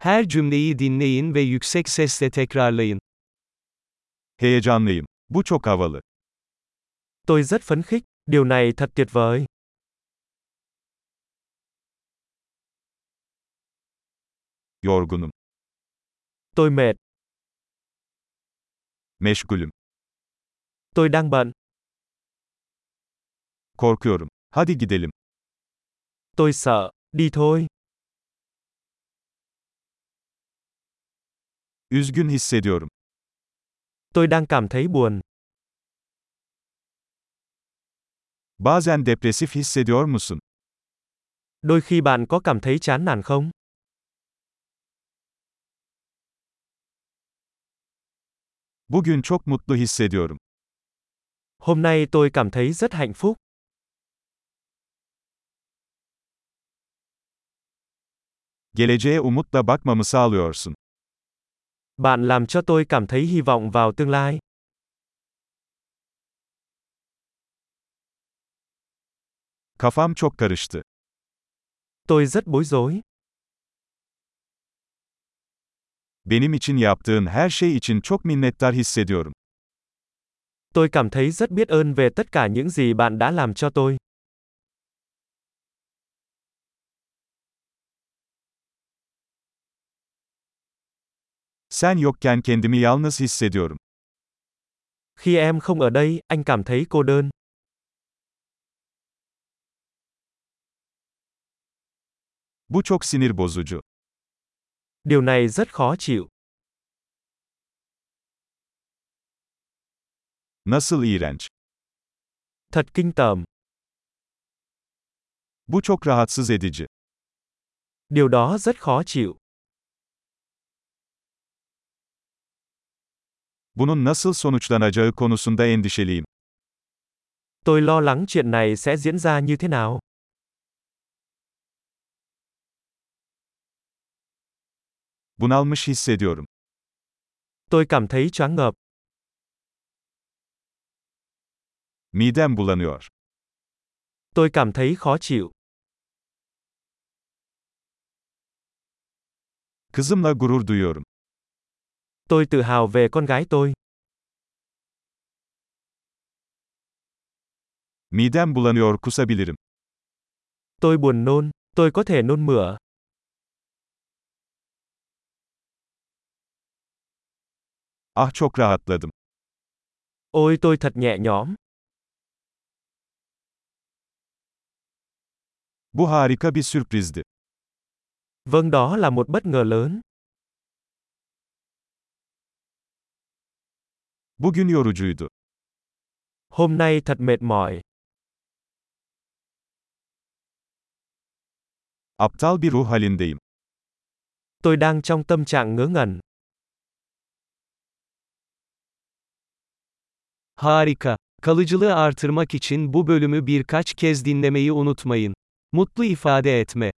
Her cümleyi dinleyin ve yüksek sesle tekrarlayın. Heyecanlıyım. Bu çok havalı. Tôi rất phấn khích, điều này thật tuyệt vời. Yorgunum. Tôi mệt, Meşgulüm. tôi đang bận, Korkuyorum. Hadi gidelim. tôi sợ, đi thôi. Üzgün hissediyorum. Tôi đang cảm thấy buồn, Bazen depresif hissediyor musun? đôi khi bạn có cảm thấy chán nản không? Bugün çok mutlu hissediyorum. Hôm nay tôi cảm thấy rất hạnh phúc, Geleceğe umutla bakmamı sağlıyorsun. bạn làm cho tôi cảm thấy hy vọng vào tương lai. Kafam çok karıştı. Tôi rất bối rối, Benim için yaptığın her şey için çok minnettar hissediyorum. tôi cảm thấy rất biết ơn về tất cả những gì bạn đã làm cho tôi. Sen yokken kendimi yalnız hissediyorum. Khi em không ở đây, anh cảm thấy cô đơn, Bu çok sinir bozucu. điều này rất khó chịu, Nasıl iğrenç. thật kinh tởm, Bu çok rahatsız edici. điều đó rất khó chịu. Bunun nasıl sonuçlanacağı konusunda endişeliyim. Tôi lo lắng chuyện này sẽ diễn ra như thế nào. Bunalmış hissediyorum. Tôi cảm thấy choáng ngợp, Midem bulanıyor. tôi cảm thấy khó chịu, Kızımla gurur duyuyorum. tôi tự hào về con gái tôi, Midem bulanıyor kusabilirim. tôi buồn nôn, tôi có thể nôn mửa, Ah çok rahatladım. ôi tôi thật nhẹ nhõm, Bu harika bir sürprizdi. vâng đó là một bất ngờ lớn, Bugün yorucuydu. hôm nay thật mệt mỏi, Aptal bir ruh halindeyim. tôi đang trong tâm trạng ngớ ngẩn, Harika. Kalıcılığı artırmak için bu bölümü birkaç kez dinlemeyi unutmayın. Mutlu ifade etme